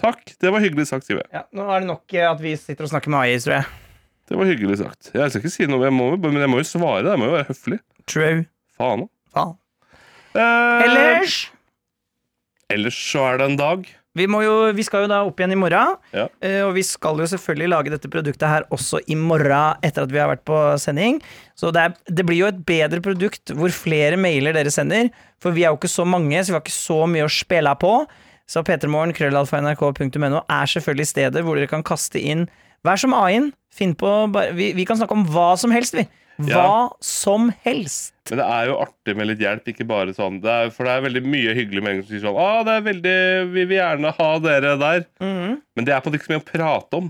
Takk. Det var hyggelig sagt, sier jeg.
Ja, nå er det nok eh, at vi sitter og snakker med AI, tror jeg.
Det var hyggelig sagt. Jeg skal ikke si noe, jeg må, jo- men jeg må jo svare. Jeg må jo være høflig.
True.
Faen òg.
Faen.
Eh,
Ellers
ellers så er det en dag.
Vi, må jo, vi skal jo da opp igjen i morgen,
Ja.
eh, og vi skal jo selvfølgelig lage dette produktet her også i morgen etter at vi har vært på sending. Så det, er, det blir jo et bedre produkt hvor flere mailer dere sender, for vi er jo ikke så mange, så vi har ikke så mye å spille på. Så p3morgen.krøllalfa.nrk.no er selvfølgelig stedet hvor dere kan kaste inn Vær som A-en. Finn på bare, vi, vi kan snakke om hva som helst, vi. Hva
Ja.
som helst.
Men det er jo artig med litt hjelp, ikke bare sånn. Det er, for det er veldig mye hyggelig med en gang som sier sånn Å, det er veldig Vi vil gjerne ha dere der.
Mm-hmm.
Men det er på en måte ikke så mye å prate om.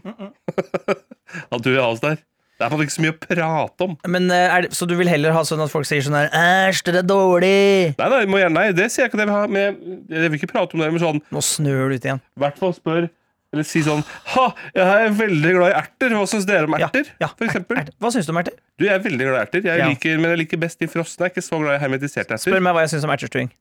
At du vil ha oss der. Det er på en måte ikke så mye å prate om.
Men, eh, er det, så du vil heller ha sånn at folk sier sånn her Æsj, dere er dårlig!
Nei, nei, må gjerne, nei det sier jeg ikke det jeg vil ha. Men jeg, jeg vil ikke prate om det. Men sånn,
Nå snør det ut igjen.
i hvert fall spør Eller si sånn Ha, jeg er veldig glad i erter. Hva syns dere om erter?
ja,
for eksempel.
Erte, Hva syns du om erter?
Du, jeg er veldig glad i erter. Jeg
Ja.
liker, men jeg liker best de frosne. Jeg er ikke så glad i hermetiserte erter.
Spør meg hva jeg syns om ertestuing.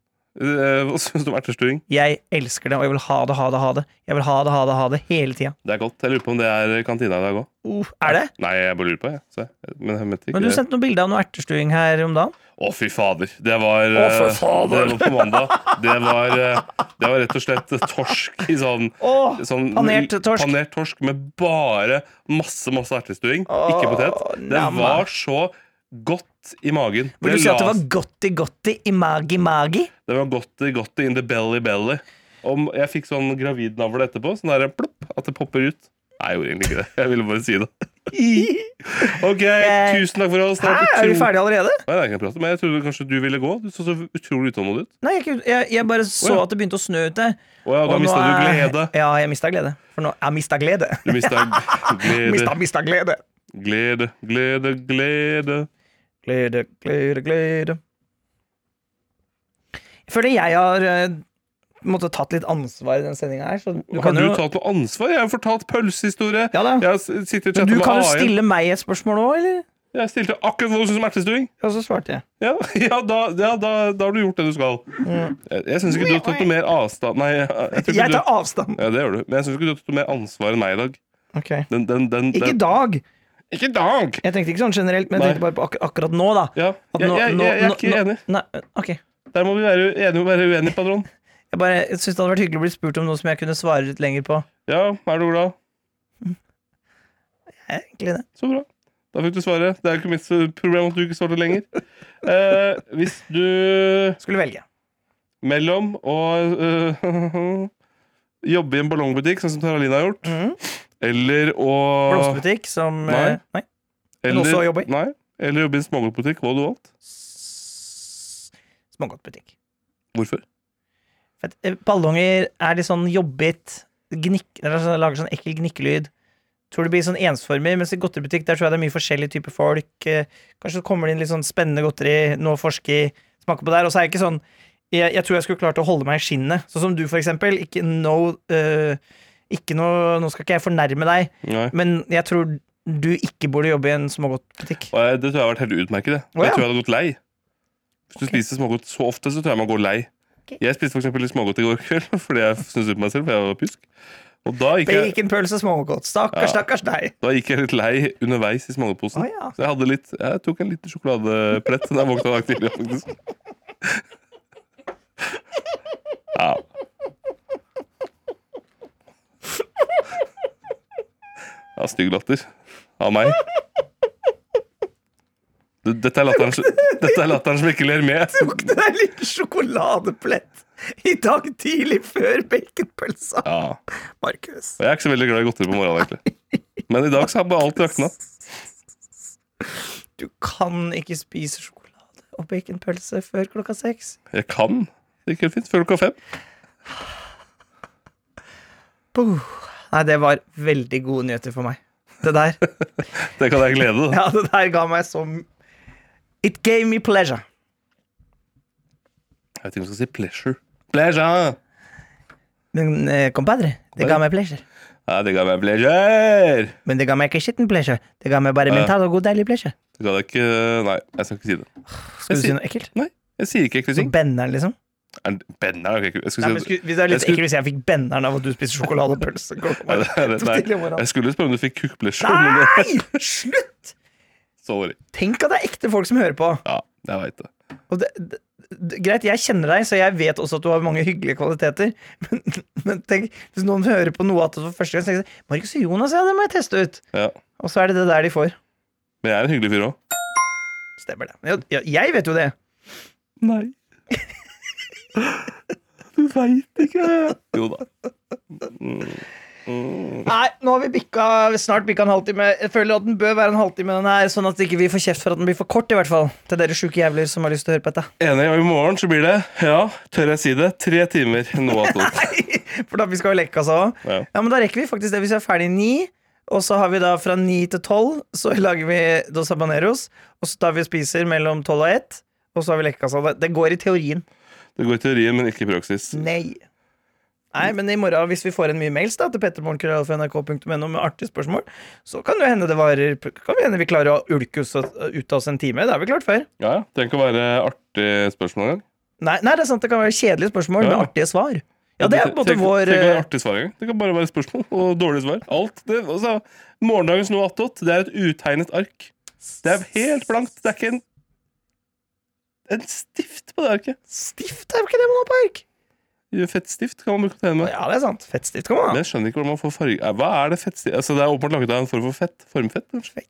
Eh, Hva syns du om ertestuing?
Jeg elsker det, og jeg vil ha det, ha det, ha det. Jeg vil ha det, ha det, ha det hele tida.
Det er godt. Jeg lurer på om det er kantina i dag òg.
Uh, er det?
Nei, jeg bare lurer på, jeg. Så, jeg- men jeg mente ikke
Men du
det.
sendte noen bilder av noe ertestuing her om dagen.
Å, fy fader. Det var,
Å,
eh,
fy fader.
det var på mandag. Det var, eh, det var rett og slett torsk i sånn,
Åh,
sånn
panert torsk.
panert torsk med bare masse, masse ertestuing.
Åh,
ikke potet. Det
namma.
var så godt i magen.
Vil du si
la
at det var
seg-
gotti-gotti i magi-magi?
det var godt, godt in the belly belly. Om jeg fikk sånn gravidnavle etterpå, sånn der plopp, at det popper ut. Nei, jeg gjorde egentlig ikke det. Jeg ville bare si det. Ok, tusen takk for oss.
Hæ,
Det har vært
Eh, er vi
utro-
ferdige allerede?
Nei, jeg kan prate, men jeg trodde kanskje du ville gå. Du så så utrolig utålmodig ut.
Nei, jeg, jeg, jeg bare så
Å, ja.
at det begynte å snø ute.
Å ja, da
nå
mista du
er-
glede.
Ja, jeg mista glede. For nå jeg mista glede.
Du mista glede,
Mista, mista glede.
glede, glede, glede.
Glede, glede, glede. Jeg føler jeg har eh, måtte tatt litt ansvar i den sendinga her. Så du
Har
kan
du
jo
tatt noe ansvar? Jeg har fortalt pølsehistorie.
Ja da.
Jeg har s- sittet og
Men du
chatta med
kan jo
AI.
stille meg et spørsmål òg, eller?
Jeg stilte akkurat hva du syns om ertestuing.
Og så svarte jeg.
Ja, ja, da, ja da, da har du gjort det du skal. Jeg, jeg syns ikke du har tatt noe mer avstand Nei, jeg, jeg tror ikke
Mm. Jeg tar
du,
avstand.
ja, det gjør du. Men jeg syns ikke du har tatt noe mer ansvar enn meg i dag.
Ok.
Den, den, den,
Ikke i
den.
dag.
Ikke i dag!
Jeg tenkte ikke sånn generelt, men jeg tenkte bare på ak akkurat nå, da.
Ja,
At
jeg,
nå-
jeg, jeg,
nå-
jeg er ikke
nå-
enig.
Nei, ok.
Der må vi være enige og være uenige, padron.
Jeg bare jeg synes det hadde vært hyggelig å bli spurt om noe som jeg kunne svare litt lenger på.
Ja, er du glad?
Jeg er Egentlig det.
Så bra. Da fikk du svaret. Det er jo ikke mitt problem at du ikke svarte lenger. Eh, hvis du
Skulle velge.
mellom å eh, jobbe i en ballongbutikk, sånn som Taralina har gjort,
Mhm.
eller å
Blomsterbutikk som
Nei.
eh, Nei. men også å jobbe i.
Nei. Eller jobbe i en smågodtbutikk. Hva hadde du valgt?
S- Smågodtbutikk.
Hvorfor?
For at, eh, Ballonger er litt sånn jobbet, gnikk, eller sånn, lager sånn ekkel gnikkelyd. Tror det blir sånn ensformig, mens i godteributikk der tror jeg det er mye forskjellige typer folk. eh, Kanskje så kommer det inn litt sånn spennende godteri, noe å forske i, smake på der. Og så er jeg ikke sånn jeg, jeg tror jeg skulle klart å holde meg i skinnet, sånn som du, for eksempel. Ikke no eh, Ikke noe Nå skal ikke jeg fornærme deg,
Nei.
men jeg tror du ikke burde jobbe i en smågodtbutikk.
Og jeg- Det tror jeg har vært helt utmerket. Det.
Å, ja.
Jeg tror jeg hadde gått lei. Hvis du spiser smågodt så ofte, så tror jeg man går lei. Jeg spiste for eksempel litt smågodt i går kveld fordi jeg syntes synd på meg selv, for jeg var pjusk. Og da gikk jeg,
Baconpølse, smågodt. Stakkars,
Ja.
stakkars deg.
da gikk jeg litt lei underveis i smågodtposen.
Å, ja.
Så jeg, hadde litt, jeg tok en liten sjokoladeplett da jeg våkna i dag tidlig, faktisk. Ja. Ja, stygg latter av meg. Du, Dette er latteren, som- dette er latteren som ikke ler med.
tok du deg en liten sjokoladeplett i dag tidlig før baconpølsa,
Ja.
Markus.
Og jeg er ikke så veldig glad i godteri på morgenen, egentlig. Men i dag så har bare alt rakna.
Du kan ikke spise sjokolade og baconpølse før klokka seks.
Jeg kan. Det gikk helt fint. Før klokka fem.
Puh. Nei, det var veldig gode nyheter for meg. Det der.
Det kan jeg glede deg.
Ja, det der ga meg så m- It gave me pleasure.
Jeg vet ikke om jeg skal si pleasure. Pleasure!
Men eh, compadre, det ga meg pleasure.
Ja, det ga meg pleasure!
Men det ga meg ikke skitten pleasure. Det ga meg bare
Ja.
mental og god, deilig pleasure.
Det ga deg ikke Nei, jeg skal ikke si det.
Skal du
Jeg
si
sier-
noe ekkelt?
Nei, jeg sier ikke ekle
Så
ting.
Benneren, liksom?
Er det- Ben er jo ikke ekle. Jeg
Nei,
skulle
men
si
skulle, hvis det er litt
jeg skulle-
ekkelt hvis jeg fikk benneren av at du spiser sjokoladepølse.
Nei, det-
Så
nei,
tidlig om Ah! morgenen.
Jeg skulle spørre om du fikk cook pleasure. men det-
Nei! Slutt!
Sorry.
Tenk at det er ekte folk som hører på.
Ja, jeg veit det.
Og det, det, det, greit, jeg kjenner deg, så jeg vet også at du har mange hyggelige kvaliteter. Men, men tenk, hvis noen hører på noe at det for første gang, så tenker de Markus og Jonas, ja, det må jeg teste ut.
Ja.
Og så er det det der de får.
Men jeg er en hyggelig fyr òg.
Stemmer det. Jeg, jeg, jeg vet jo det.
Nei. Du veit ikke. Jo da.
Nei, nå har vi bikka, snart bikka en halvtime. Jeg føler at den bør være en halvtime, den her, sånn at ikke vi får kjeft for at den blir for kort, i hvert fall. Til dere sjuke jævler som har lyst til å høre på dette.
Enig. Og i morgen så blir det, ja, tør jeg si det, tre timer noe attåt.
For da vi skal jo leke altså også.
Ja.
Ja, men da rekker vi faktisk det hvis vi er ferdig ni Og så har vi da fra ni til tolv Så lager vi Dos Habaneros Og så tar vi og spiser mellom tolv og ett Og så har vi leke altså Det- Det går i teorien
Det går i teorien, men ikke i praksis.
Nei Nei, men i morgen hvis vi får en mye mails da Til pettermorgen.nrk.no med artige spørsmål Så kan det jo hende det varer Kan det hende vi klarer å ulke oss ut av oss en time Det har vi klart før
Ja, ja. Trenger ikke å være artig spørsmål engang.
Nei, nei, det er sant det kan være kjedelige spørsmål Med
Ja.
artige svar Ja, det er på en måte
Tenk-
vår
tenk å
eh,
være artig svar, engang. Det kan bare være spørsmål og dårlige svar. Alt det, altså, Morgendagens noe attåt, det er et utegnet ark. Det er helt blankt. Det er ikke en en stift på det arket.
Stift er jo ikke det monopark
Fettstift kan man bruke det med.
Ja, det er sant. Fettstift kan man
Men
ha.
jeg skjenner ikke hvordan man får farge Eh, Hva er det fettstift Altså, Det er åpenbart laget av en form for fett. Formfett? kanskje?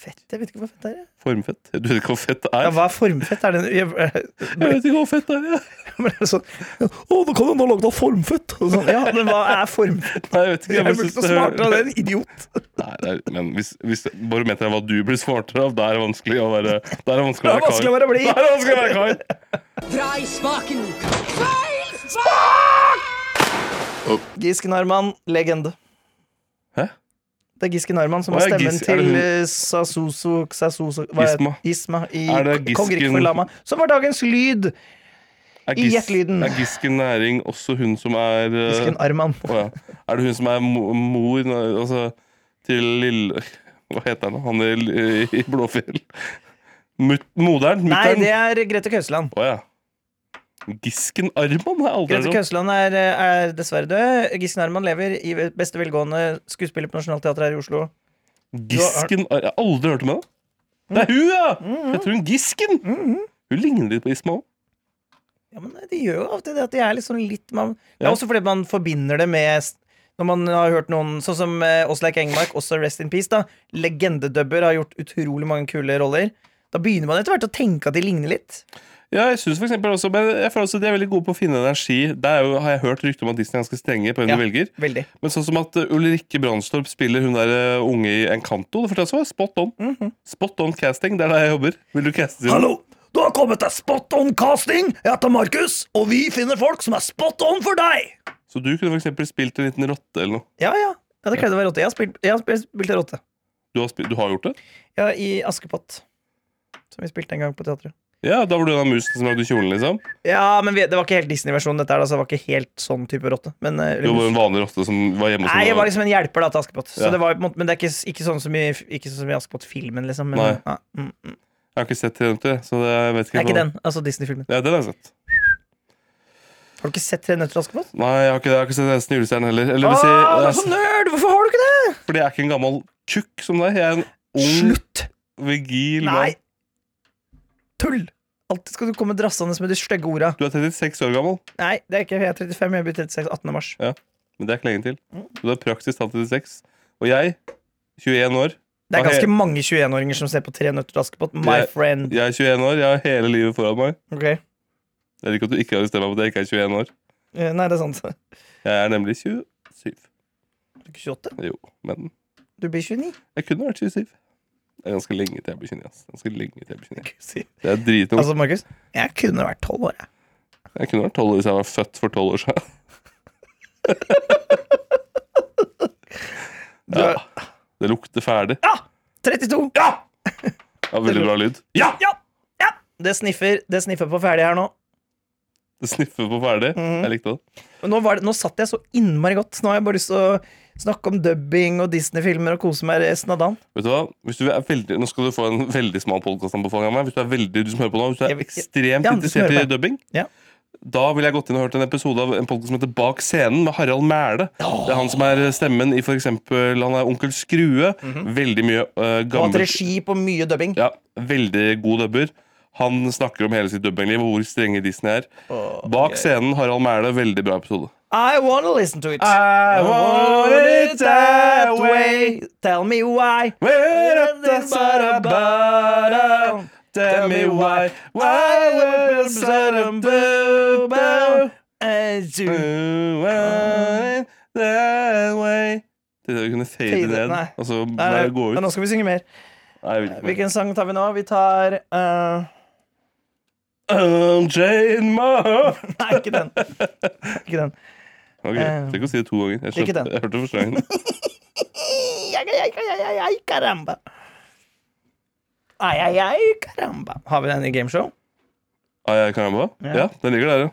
Fett? Jeg vet ikke hva fett er. jeg.
Formfett? Du vet ikke hva fett er?
Ja, hva er formfett? Er det jeg-
Jeg vet ikke hva fett er, jeg.
ble det sånn, Å, nå kan den ha lagd av formfett! Og Sånn, ja, men hva er formfett?
Nei, jeg vet ikke.
Jeg
bare
burde
synes
ikke smart av den, idiot!
Nei, det er, men hvis, hvis barometeret er hva du blir smartere av, da er det vanskelig å være Da er det vanskelig å
Det er vanskelig å
være kar.
være blid!
Da er det vanskelig å være kar.
Dra i spaken!
Giske Narman, legende.
Hæ?
Det er Giske Narman som
Å,
har
ja,
stemmen
Gis- er det
til
hun-
eh, Sasuso Sasuso hva er-
Gisma.
Gisma i
Er det Gisken-
Kongeriket for Lama. Som var dagens lyd!
Er
I gjettelyden.
Er Gisken Næring også hun som er eh,
Gisken Arman.
å ja. Er det hun som er mo- mor nei, altså, til lille Hva heter han? Han i, i Blåfjell? Mut, moderen?
Nei,
Mutter'n?
det er Grete Køsland.
Å ja. Gisken Arman har jeg aldri
Grete
hørt om.
Køsland er, eh, er dessverre død. Gisken Arman lever i beste velgående. Skuespiller på Nationaltheatret her i Oslo.
Gisken Ar- Jeg har aldri hørt om henne. Det er hun, ja!
Mm-hmm.
Heter hun Gisken? Hun ligner litt på Isma òg.
Ja, men De gjør jo alltid det at de er liksom litt man, Det er
Ja.
også fordi man forbinder det med s- Når man har hørt noen Sånn som eh, Åsleik Engmark, også Rest in Peace, da legendedubber, har gjort utrolig mange kule roller. Da begynner man etter hvert å tenke at de ligner litt.
Ja, jeg synes for eksempel også Men jeg føler også de er veldig gode på å finne energi. Der er jo, har jeg hørt rykter om at Disney er ganske strenge på hvem
Ja.
de velger.
Veldig.
Men sånn som at uh, Ulrikke Brandstorp spiller hun der uh, unge i Encanto. Det fortalte jeg også. Spot on. Spot on casting. Det er der jeg jobber. Vil du caste til
Mhm. Hallo! Du har kommet til Spot on casting! Jeg heter Markus, og vi finner folk som er spot on for deg!
Så du kunne for eksempel spilt en liten rotte eller noe.
Ja, ja. ja det kledde å være rotte. Jeg har spilt, jeg har spilt, spilt en rotte.
Du har, spilt, du har gjort det?
Ja, I Askepott. Som vi spilte en gang på teatret.
Ja, da var du den av musen som lagde kjolen, liksom?
Ja, men vi, Det var ikke helt Disney-versjonen, dette her. da, så det var ikke helt sånn type rotte. Men, eh,
Du var en vanlig rotte som var hjemme hos
Nei, jeg var
noen.
liksom en hjelper da til Askepott. Så
Ja.
det var, på en måte- men det er ikke, ikke sånn som i, ikke sånn som i Askepott-filmen, liksom. Men,
Nei.
ja, mm, mm.
Jeg har ikke sett Trente, så det, jeg vet ikke.
Det er ikke
hva-
den. Altså Disney-filmen.
Ja, den har jeg sett.
Har du ikke sett Tre nøtter til Askepott?
Nei, jeg har ikke, jeg har ikke sett Nesten julestjerne heller. Eller det vil si,
Åh, du er
jeg-
så nerd! Hvorfor har du ikke det?
Fordi jeg er ikke en gammel kukk som deg. Jeg er en ung,
Slutt!
vigil
Nei!
mann.
Tull! Alltid skal du komme drassende med de stygge orda.
Du er 36 år gammel,
Nei, det er ikke jeg er 35, jeg blir 36 18. mars.
men det er ikke lenge til. Så du er praktisk talt 36. Og jeg, 21 år
Det er
Ok.
ganske mange 21-åringer som ser på Tre nøtter til Askepott. My
Jeg-
friend.
Jeg er 21 år, jeg har hele livet foran meg.
Ok.
Jeg liker at du ikke har bestemt meg på at jeg ikke er 21 år.
Eh, Nei, det er sant. Du
Jeg er nemlig 27.
er ikke 28?
Jo, men
Du blir 29.
jeg kunne vært 27. Det er ganske lenge til jeg blir 29. ass. Ganske lenge til jeg blir 29.
Si-
Det er dritung.
Altså, Markus, jeg kunne vært 12 år, jeg.
Jeg kunne vært 12 år hvis jeg var født for 12 år siden.
Du
Ja.
er- Ah!
Det lukter ferdig.
32! Ja!
Ja, veldig bra lyd. Ja!
Ja! ja! Det, sniffer, det sniffer på ferdig her nå.
Det sniffer på ferdig.
Mhm.
Jeg likte det.
Men Nå, var det, nå satt jeg så innmari godt. Nå har jeg bare lyst til å snakke om dubbing og Disney-filmer og kose meg resten av dagen.
Vet du hva? Hvis du er veldig, nå skal du få en veldig smal podkastanbefaling av meg. Hvis du er veldig, du som hører på nå, hvis du
Jeg
er
vil-
ekstremt
Ja, du som
interessert
hører
i
på.
dubbing,
Ja.
da ville jeg gått inn og hørt en episode av en podkast som heter Bak scenen, med Harald Mæle. Det er han som er stemmen i for eksempel Han er onkel Skrue. Veldig mye uh,
Mhm. Og hatt
gammel
regi på mye dubbing.
ja, Veldig god dubber. Han snakker om hele sitt dubbingliv og hvor strenge Disney er. Bak scenen, Harald Mæle. Veldig bra episode.
I wanna listen to it.
I
want it that way. Tell me why.
Tell me why, why would the sun and boo boo
And you-
Mm, why that way? Det der vi kunne fade
Fade,
ned,
nei.
og så
Nei,
bare gå
men
ut.
nå skal vi synge mer.
Nei, jeg vil ikke mer.
Hvilken sang tar vi nå? Vi tar eh,
Um, Unchain my heart.
Nei, ikke den. Ikke den.
Ok,
Eh,
Tenk å si det to ganger. Jeg,
ikke
skjønte,
den.
jeg hørte første gangen.
Ay, ay, ay, ay, ay, ay, caramba. Ai, ai, ai, caramba. Har vi den i gameshow?
Ai, ai, caramba.
Ja.
Ah, Ja, den ligger der, ja.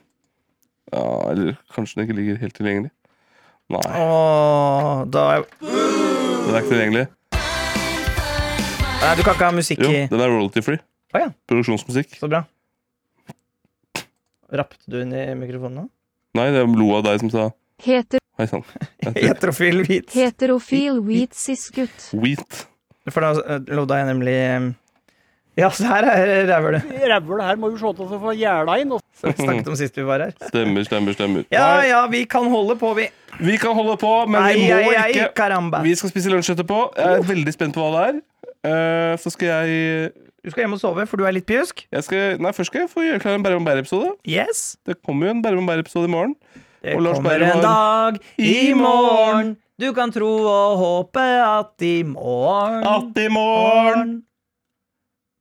ja. Eller kanskje den ikke ligger helt tilgjengelig. Nei,
Åh, da
den er ikke tilgjengelig.
Nei, du kan ikke ha musikk
Jo,
i
den er royalty-free.
Å ja,
Produksjonsmusikk.
så bra. Rappte du inn i mikrofonen nå?
Nei, det lo av deg som sa
Heter,
Hei sann. Jeg tror-
Heterofil hvit.
heterofil wheat sis gutt.
Wheat.
For da eh, lodda jeg nemlig eh, Ja, så her er rævhølet.
Rævhøl her må jo se til å få jæla inn. og-
Som vi snakket om sist vi var her.
Stemmer, stemmer, stemmer.
Ja,
Nei,
ja, vi kan holde på, vi.
Vi kan holde på, men
Ai,
vi må
ai, ai,
ikke.
caramba.
Vi skal spise lunsj etterpå. Jeg er veldig spent på hva det er. Eh, så skal jeg
Du skal hjem og sove, for du er litt pjusk.
jeg skal, Nei, først skal jeg få gjøre klar en Bærum Bærum-episode.
Yes.
Det kommer jo en Bærum Bærum-episode i morgen.
Det
Og Lars
kommer
Berrum
en dag i
I
morgen. Du kan tro og håpe at i morgen
At i morgen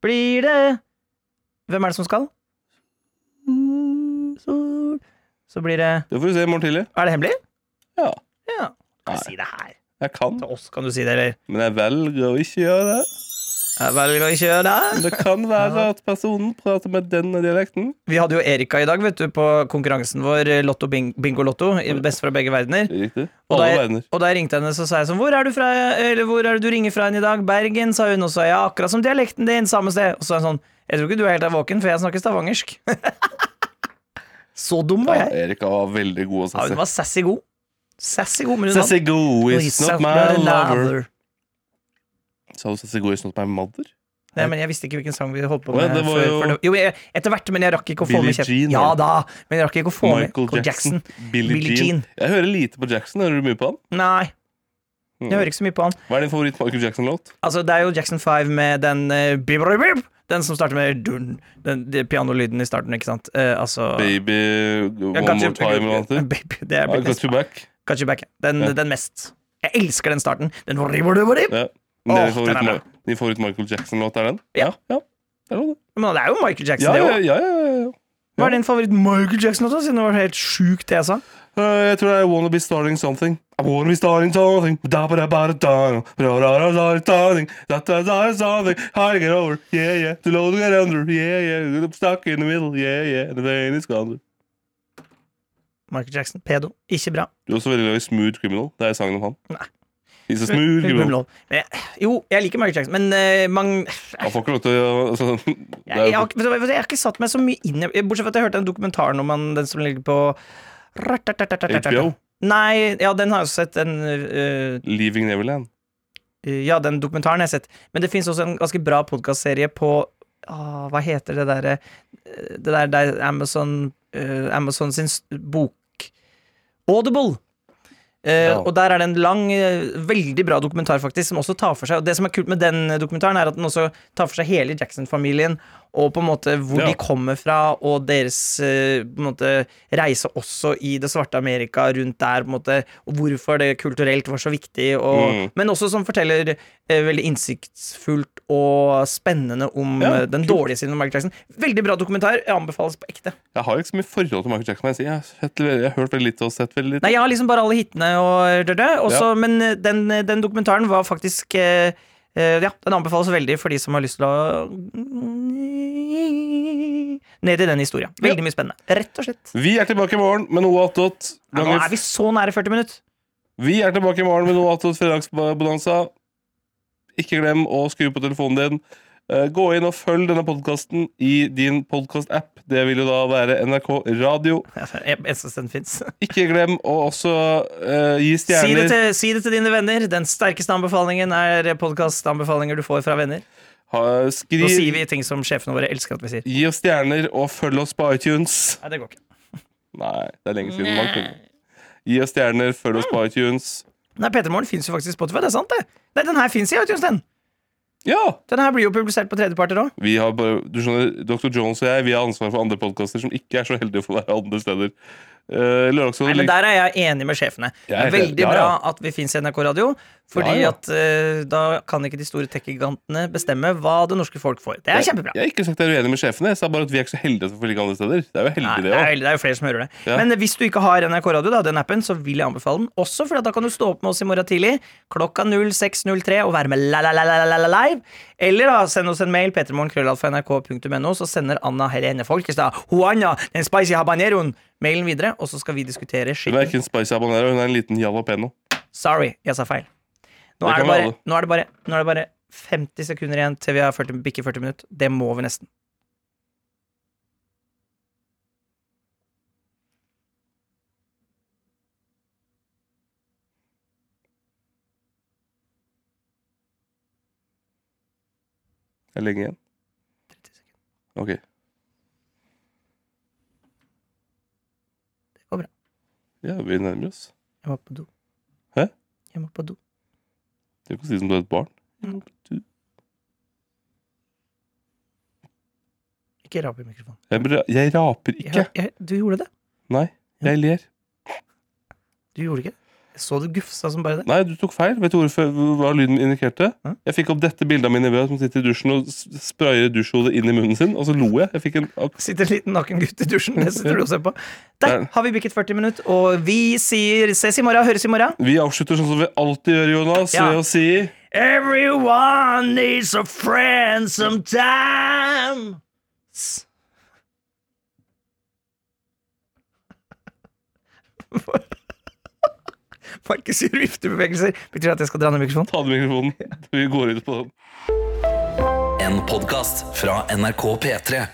blir det Hvem er det som skal? Sol Så blir det
Det får vi se i morgen tidlig.
Er det hemmelig?
Ja.
Ja. Kan
Nei.
du si det her?
Jeg kan,
Til oss kan du si det, eller?
men jeg velger å ikke gjøre det.
Jeg velger å ikke gjøre det.
Det kan være at personen prater med denne dialekten.
Vi hadde jo Erika i dag, vet du, på konkurransen vår eh, Lotto Bing Bingo Lotto. i Best fra begge verdener.
Riktig.
Og da,
Alle
jeg,
verdener.
og da jeg ringte henne, så sa jeg sånn Hvor er du fra, eller hvor er det du ringer fra hen i dag? Bergen, sa hun, og så er jeg akkurat som dialekten din, samme sted. Og så sa hun sånn Jeg tror ikke du er helt er våken, for jeg snakker stavangersk. så dum var
Ja,
jeg.
Erika var veldig god og
Ja, hun
sassy.
var sassy god. Sassy god, men hun
Sassy go
hadde-
is not my
Sassy
lover. Sa du sassy go is not my mother?
Nei, men jeg visste ikke hvilken sang vi holdt på
Å, ja,
med.
det var
før,
jo-
for det, jo jeg, etter hvert, men jeg rakk ikke å få
Billie
med kjeften.
Jean,
Ja
var det.
da, men jeg rakk ikke å få
Michael
med Michael Jackson.
Jackson. Billie,
Billie Jean.
Jean. Jeg hører lite på Jackson. Hører du mye på han?
Nei,
Mm.
jeg hører ikke så mye på han.
Hva er din favoritt Michael Jackson-låt?
Altså, det er jo Jackson 5 med den eh, bip, bip, bip, Den som starter med dun, den, den pianolyden i starten, ikke sant? Eh, altså
Baby One
Ja,
More Time eller noe annet?
Baby, det er
I got you back.
Got you back. Den,
Ja.
den mest. Jeg elsker den starten. Den rip, rip, rip.
Ja. Men det er
Åh,
din favoritt,
den er
Ma- din favoritt Michael Jackson-låt er den?
Ja.
ja. Det er noe, det.
Men det er jo Michael Jackson,
Ja,
det
ja,
òg.
ja, ja, ja.
Hva er din favoritt Michael Jackson-låt, da, siden det var helt sjukt, det jeg sa?
Eh, Jeg tror det er Wanna Be Starting Something. I wanna be starting something da ba da ba da da Ba da da da da starting. Da da da da something Hard to get over Yeah yeah Too low to get under Yeah yeah I'm Stuck in the middle Yeah yeah The vein is gone
Michael Jackson. Pedo. Ikke bra.
Du er også veldig glad i Smooth Criminal Det er sangen om han
Nei.
He's a smooth criminal
Lov. Men jeg, jo, jeg liker Michael Jackson, men eh, man
Han får ikke lov til å altså, det
jeg,
er
jeg, har,
jo,
ikke- vet du hva, jeg har ikke satt meg så mye inn i Bortsett fra at jeg hørte den dokumentaren om han, den som ligger på
HBO
Nei, ja, den har jeg også sett. Den, øh,
Leaving Neverland
øh, ja, den dokumentaren har jeg sett. Men det fins også en ganske bra podkastserie på ah, Hva heter det derre eh, Det der, der Amazon øh, Amazon sin s- bok Audible! Eh,
Ja.
Og der er det en lang, eh, veldig bra dokumentar faktisk som også tar for seg Og det som er kult med den dokumentaren, er at den også tar for seg hele Jackson-familien. Og på en måte hvor
Ja.
de kommer fra, og deres eh, på en måte, reise også i det svarte Amerika rundt der. på en måte Og hvorfor det kulturelt var så viktig. Og,
Mm.
Men også som forteller eh, veldig innsiktsfullt og spennende om
Ja,
eh, den dårlige siden av Michael Jackson. Veldig bra dokumentar. Jeg anbefales på ekte.
Jeg har ikke så mye forhold til Michael Jackson må Jeg, si. jeg, har, sett, veldig- jeg har hørt veldig litt og sett veldig litt
Nei, jeg har liksom bare alle hitene og det, det, også, Men eh, den, den dokumentaren var faktisk eh, eh, Ja, den anbefales veldig for de som har lyst til å Ned i den historien. Veldig mye spennende. Rett og slett.
Vi er tilbake i morgen med noe attåt
Ja, nå er vi så nære 40 minutter.
Vi er tilbake i morgen med noe attåt fredagsbonanza. Ikke glem å skru på telefonen din. Eh, Gå inn og følg denne podkasten i din podkast-app. Det vil jo da være NRK Radio.
Eneste den fins.
Ikke glem å også eh, gi
Si, det
stjerner.
til- si det til dine venner. Den sterkeste anbefalingen er podkastanbefalinger du får fra venner.
Ha,
Nå sier
skriv.
vi ting som sjefene våre elsker at vi sier.
Gi oss stjerner, og følg oss på iTunes.
Nei, det går ikke.
Nei, det er lenge siden man kunne. Gi oss stjerner, følg oss på iTunes.
Nei, P3 Morgen fins jo faktisk på Spotify. Det er sant, det. Nei, den her fins i iTunes, den.
Ja!
Den her blir jo publisert på tredjeparter òg.
Vi har bare, du skjønner, Dr. Jones og jeg vi har ansvar for andre podkaster som ikke er så heldige for å være andre steder. Eh, Lørdagsrådet
Nei, men Der er jeg enig med sjefene. Det
Jeg
er
er helt-
veldig
ja, ja.
bra at vi fins i NRK Radio, fordi
Ja, ja.
at eh, da kan ikke de store tech-gigantene bestemme hva det norske folk får. Det er kjempebra.
Jeg har ikke sagt jeg er uenig med sjefene. Jeg sa bare at vi er ikke så heldige at vi får ligge andre steder. Det er jo heldig,
Nei, det, er,
det òg.
veldig- det er jo flere som hører det.
Ja.
Men eh, hvis du ikke har NRK Radio, da, den appen, så vil jeg anbefale den. Også fordi at da kan du stå opp med oss i morgen tidlig klokka 06.03 og være med la-la-la-la-la live. Eller da, send oss en mail, p3morgenkrøllalfa.nrk.no, så sender Anna Helene Folkestad Juana, den spicy habaneroen, mailen videre, og så skal vi diskutere
Hun er
skitten.
ikke en spicy habanero, hun er en liten jalapeno.
Sorry, jeg sa feil. Nå
Det
er
kan
det bare,
være alle.
nå er det bare, nå er det bare 50 sekunder igjen til vi har 40, bikke 40 minutter. Det må vi nesten.
Det er lenge igjen. Ok. Det
går bra.
Ja, vi nærmer oss.
Jeg må på do.
Hæ?
Jeg må på do.
Du kan si som du er et barn. Du-
Ikke rap i mikrofonen.
Jeg, bra- jeg raper ikke.
Jeg, jeg, du gjorde det.
Nei, jeg ler.
Du gjorde ikke det. Jeg så du gufsa som bare det.
Nei, du tok feil. Vet du hvorfor, hva lyden indikerte?
Hæ?
Jeg fikk opp dette bildet av min nevø som sitter i dusjen og s- sprayer dusjhodet inn i munnen sin, og så lo jeg. Jeg fikk en ak-
Sitter en liten naken gutt i dusjen. Det sitter du og ser på. Der har vi bikket 40 minutter, og vi sier ses i morgen, høres i morgen.
Vi avslutter sånn som vi alltid gjør, Jonas,
Ja.
ved å si
Everyone needs a friend sometime. S- Markus gjør viftebevegelser. Betyr det at jeg skal dra ned mikrofonen?
Ta den mikrofonen. Vi går ut på den.
En podkast fra NRK P3.